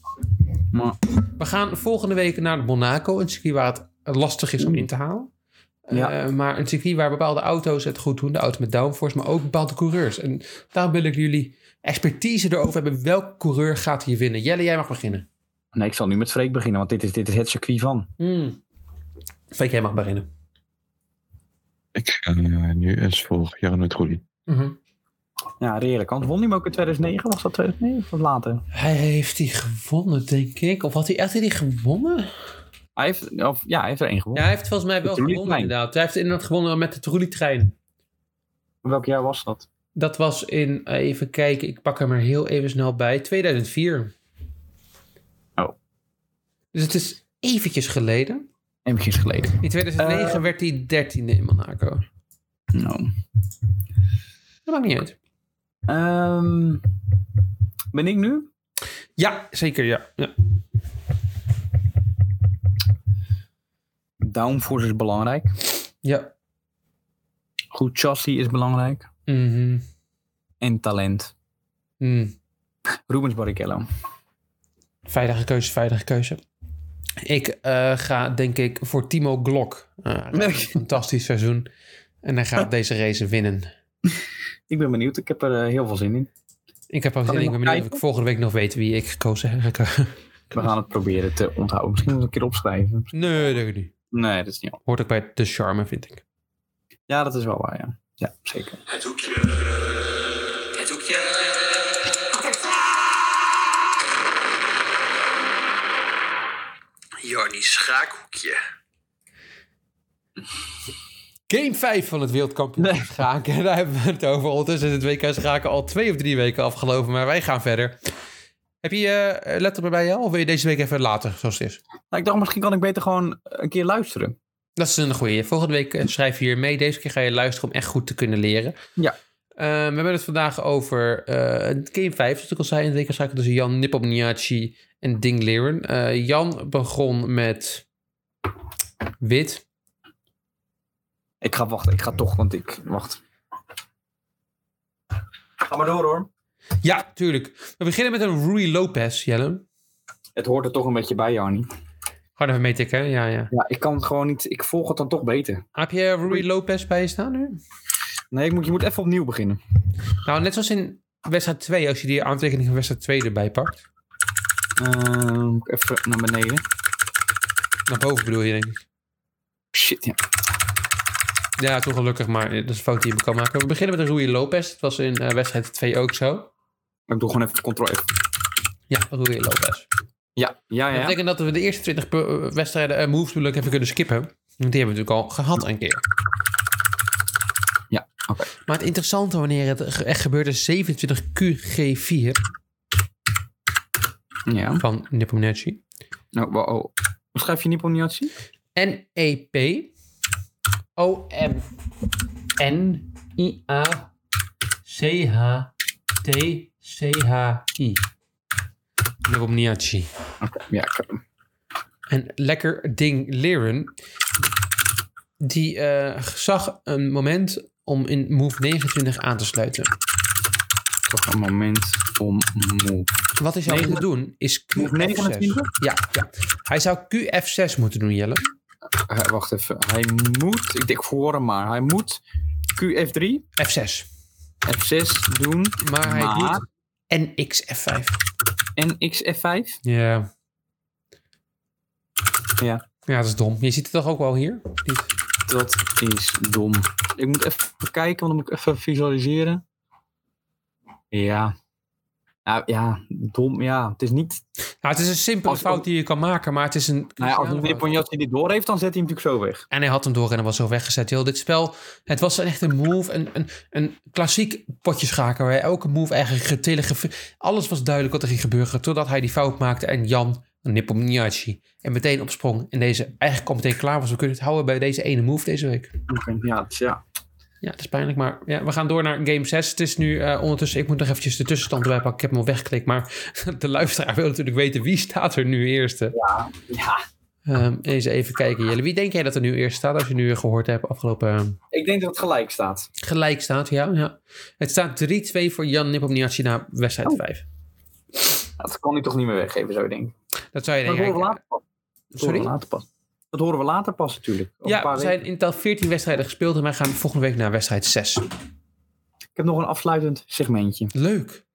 Speaker 3: Maar-
Speaker 1: We gaan volgende week naar Monaco, een circuit waar het lastig is om in te halen.
Speaker 3: Ja.
Speaker 1: Eh, maar een circuit waar bepaalde auto's het goed doen, de auto met downforce, maar ook bepaalde coureurs. En daarom wil ik jullie expertise erover hebben. Welke coureur gaat hier winnen? Jelle, jij mag beginnen.
Speaker 3: Nee, ik zal nu met Freek beginnen, want dit is, dit is het circuit van.
Speaker 1: Hmm. Freek, jij mag beginnen.
Speaker 4: Ik ga eh, nu eens voor Jarno Trulli.
Speaker 1: Mhm.
Speaker 3: Ja, redelijk. Want won hij hem ook in 2009? Was dat 2009 of later?
Speaker 1: Hij heeft die gewonnen, denk ik. Of had hij echt die gewonnen?
Speaker 3: Hij heeft, of, ja, hij heeft er één
Speaker 1: Ja,
Speaker 3: gewonnen.
Speaker 1: hij heeft volgens mij wel
Speaker 3: De
Speaker 1: gewonnen,
Speaker 3: trolleytrein.
Speaker 1: inderdaad. Hij heeft inderdaad gewonnen met de trolleytrein.
Speaker 3: Welk jaar was dat?
Speaker 1: Dat was in, eh, even kijken, ik pak hem er heel even snel bij, 2004.
Speaker 3: Oh.
Speaker 1: Dus het is eventjes geleden.
Speaker 3: Eventjes geleden.
Speaker 1: In 2009 werd hij 13e in Monaco.
Speaker 3: Nou.
Speaker 1: Dat maakt niet uit.
Speaker 3: Ehm, ben ik nu?
Speaker 1: Ja, zeker ja. ja.
Speaker 3: Downforce is belangrijk.
Speaker 1: Ja.
Speaker 3: Goed chassis is belangrijk.
Speaker 1: Mhm.
Speaker 3: En talent.
Speaker 1: Hmm,
Speaker 3: Rubens Barrichello.
Speaker 1: veilige keuze, veilige keuze. Ik eh, ga denk ik voor Timo Glock. Ah,
Speaker 3: Nee.
Speaker 1: fantastisch seizoen. En hij gaat deze race winnen.
Speaker 3: Ik ben benieuwd. Ik heb er eh, heel veel zin in.
Speaker 1: Ik heb ook
Speaker 3: Kan
Speaker 1: zin in.
Speaker 3: ik
Speaker 1: Ik ben
Speaker 3: nog
Speaker 1: benieuwd of
Speaker 3: kijken?
Speaker 1: ik volgende week nog weet wie ik eh, gekozen heb.
Speaker 3: We gaan het proberen te onthouden. Misschien moet ik het een keer opschrijven.
Speaker 1: nee, dat niet.
Speaker 3: Nee, dat is niet op.
Speaker 1: Hoort ook bij de charme, vind ik.
Speaker 3: Ja, dat is wel waar, ja. Ja, zeker.
Speaker 5: Het hoekje. Het hoekje. Jarnie Schaakhoekje.
Speaker 1: Game 5 van het wereldkampioen
Speaker 3: Nee.
Speaker 1: schaken. Daar hebben we het over. Ondertussen is het WK schaken al twee of drie weken afgelopen. Maar wij gaan verder. Heb je eh laptop erbij al? Of wil je deze week even later, zoals het is?
Speaker 3: Nou, ik dacht, misschien kan ik beter gewoon een keer luisteren.
Speaker 1: Dat is een goeie. Volgende week eh, schrijf je hier mee. Deze keer ga je luisteren om echt goed te kunnen leren.
Speaker 3: Ja.
Speaker 1: Ehm, we hebben het vandaag over eh Game 5, zoals ik al zei in de wekenzaken tussen Jan Nipomniachi en Ding Leren. Eh, Jan begon met wit.
Speaker 3: Ik ga wachten. Ik ga toch, want ik... Wacht. Ga maar door, hoor.
Speaker 1: Ja, tuurlijk. We beginnen met een Rui Lopez, Jelle.
Speaker 3: Het hoort er toch een beetje bij, Jarnie.
Speaker 1: Gewoon even meetikken, hè? ja, ja.
Speaker 3: Ja, ik kan het gewoon niet... Ik volg het dan toch beter.
Speaker 1: Heb je Rui Lopez bij je staan nu?
Speaker 3: Nee, ik moet, je moet even opnieuw beginnen.
Speaker 1: Nou, net zoals in wedstrijd 2, als je die aantekening van wedstrijd 2 erbij pakt.
Speaker 3: Ehm, moet ik even naar beneden.
Speaker 1: Naar boven bedoel je, denk ik.
Speaker 3: Shit, ja.
Speaker 1: Ja, toch gelukkig, maar dat is een fout die je kan maken. We beginnen met een Rui Lopez. Dat was in eh, wedstrijd 2 ook zo.
Speaker 3: Ik doe gewoon even control F.
Speaker 1: Ja, Rui Lopez.
Speaker 3: Ah, Ja, ja,
Speaker 1: Dat
Speaker 3: ja.
Speaker 1: betekent dat we de eerste 20 pe- wedstrijden en moves natuurlijk even kunnen skippen. Want die hebben we natuurlijk al gehad een keer.
Speaker 3: Ja, oké.
Speaker 1: Maar het interessante wanneer het ge- echt gebeurt is 27 QG4
Speaker 3: Ja.
Speaker 1: van Nipponecci.
Speaker 3: Oh, wow, oh. Hoe schrijf je Nipponiachi?
Speaker 1: NEP OM N I A C H T C H I. Nipponecci.
Speaker 3: Oké, ja. ik-
Speaker 1: En lekker ding leren. Die eh, zag een moment om in move 29 aan te sluiten.
Speaker 3: Toch een moment om moe.
Speaker 1: Wat hij zou
Speaker 3: Negen-
Speaker 1: moeten doen is
Speaker 3: Move
Speaker 1: QF6.
Speaker 3: 29?
Speaker 1: Ja, ja, hij zou QF6 moeten doen, Jelle.
Speaker 3: Eh, wacht even. Hij moet, ik denk voor hem maar, hij moet QF3,
Speaker 1: F6.
Speaker 3: F6 doen
Speaker 1: Maar hij
Speaker 3: Maar-
Speaker 1: doet NXF5.
Speaker 3: en XF5.
Speaker 1: Ja.
Speaker 3: Ja.
Speaker 1: Ja, dat is dom. Je ziet het toch ook wel hier? Niet?
Speaker 3: Dat is dom. Ik moet even kijken, want dan moet ik even visualiseren. Ja. Nou ja, dom, ja. Het is niet...
Speaker 1: Nou, het is een simpele
Speaker 3: Als-
Speaker 1: fout die je kan maken, maar het is een...
Speaker 3: Nou ja, als
Speaker 1: cruciale fout.
Speaker 3: Nipponiachi dit door heeft, dan zet hij hem natuurlijk zo weg.
Speaker 1: En hij had hem door en hij was zo weggezet. Heel dit spel, het was echt een move, een, een, een klassiek potjeschaker. Waar elke move eigenlijk getelegrafeerd... Alles was duidelijk wat er ging gebeuren, totdat hij die fout maakte. En Jan Nipomniachi en meteen opsprong. En deze eigenlijk al meteen klaar was. We kunnen het houden bij deze ene move deze week.
Speaker 3: Oké, Ja, het is- ja.
Speaker 1: Ja, dat is pijnlijk, maar ja, we gaan door naar game 6. Het is nu eh, ondertussen, ik moet nog eventjes de tussenstand erbij pakken. Ik heb hem al weggeklikt, maar de luisteraar wil natuurlijk weten wie staat er nu eerste.
Speaker 3: ja.
Speaker 1: Ehm, eens even kijken, Jelle. Wie denk jij dat er nu eerst staat als je nu gehoord hebt afgelopen... ehm,
Speaker 3: Ik denk dat het gelijk staat.
Speaker 1: Gelijk staat, ja. ja. Het staat 3-2 voor Jan Nipomniachtchi na wedstrijd
Speaker 3: Oh.
Speaker 1: 5.
Speaker 3: Dat kan hij toch niet meer weggeven, zou je denken.
Speaker 1: Dat zou je
Speaker 3: Dat horen we
Speaker 1: denken.
Speaker 3: later pas. Dat horen we
Speaker 1: Sorry?
Speaker 3: later pas. Dat horen we later pas natuurlijk. Over een
Speaker 1: Ja,
Speaker 3: paar
Speaker 1: we
Speaker 3: weken.
Speaker 1: zijn in totaal 14 wedstrijden gespeeld en wij gaan volgende week naar wedstrijd 6.
Speaker 3: Ik heb nog een afsluitend segmentje.
Speaker 1: Leuk.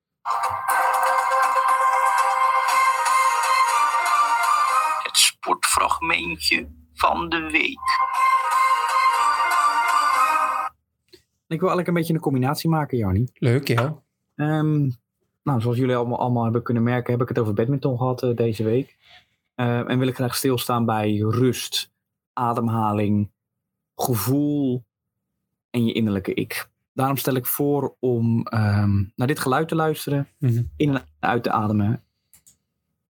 Speaker 2: Het sportfragmentje van de week.
Speaker 3: Ik wil eigenlijk een beetje een combinatie maken, Jarnie.
Speaker 1: Leuk, ja.
Speaker 3: Ehm, nou, zoals jullie allemaal, allemaal hebben kunnen merken, heb ik het over badminton gehad eh, deze week. Ehm, en wil ik graag stilstaan bij rust, ademhaling, gevoel en je innerlijke ik. Daarom stel ik voor om ehm, naar dit geluid te luisteren,
Speaker 1: Mhm.
Speaker 3: in en uit te ademen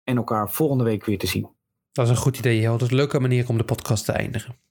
Speaker 3: en elkaar volgende week weer te zien.
Speaker 1: Dat is een goed idee, Jel. Dat is een leuke manier om de podcast te eindigen.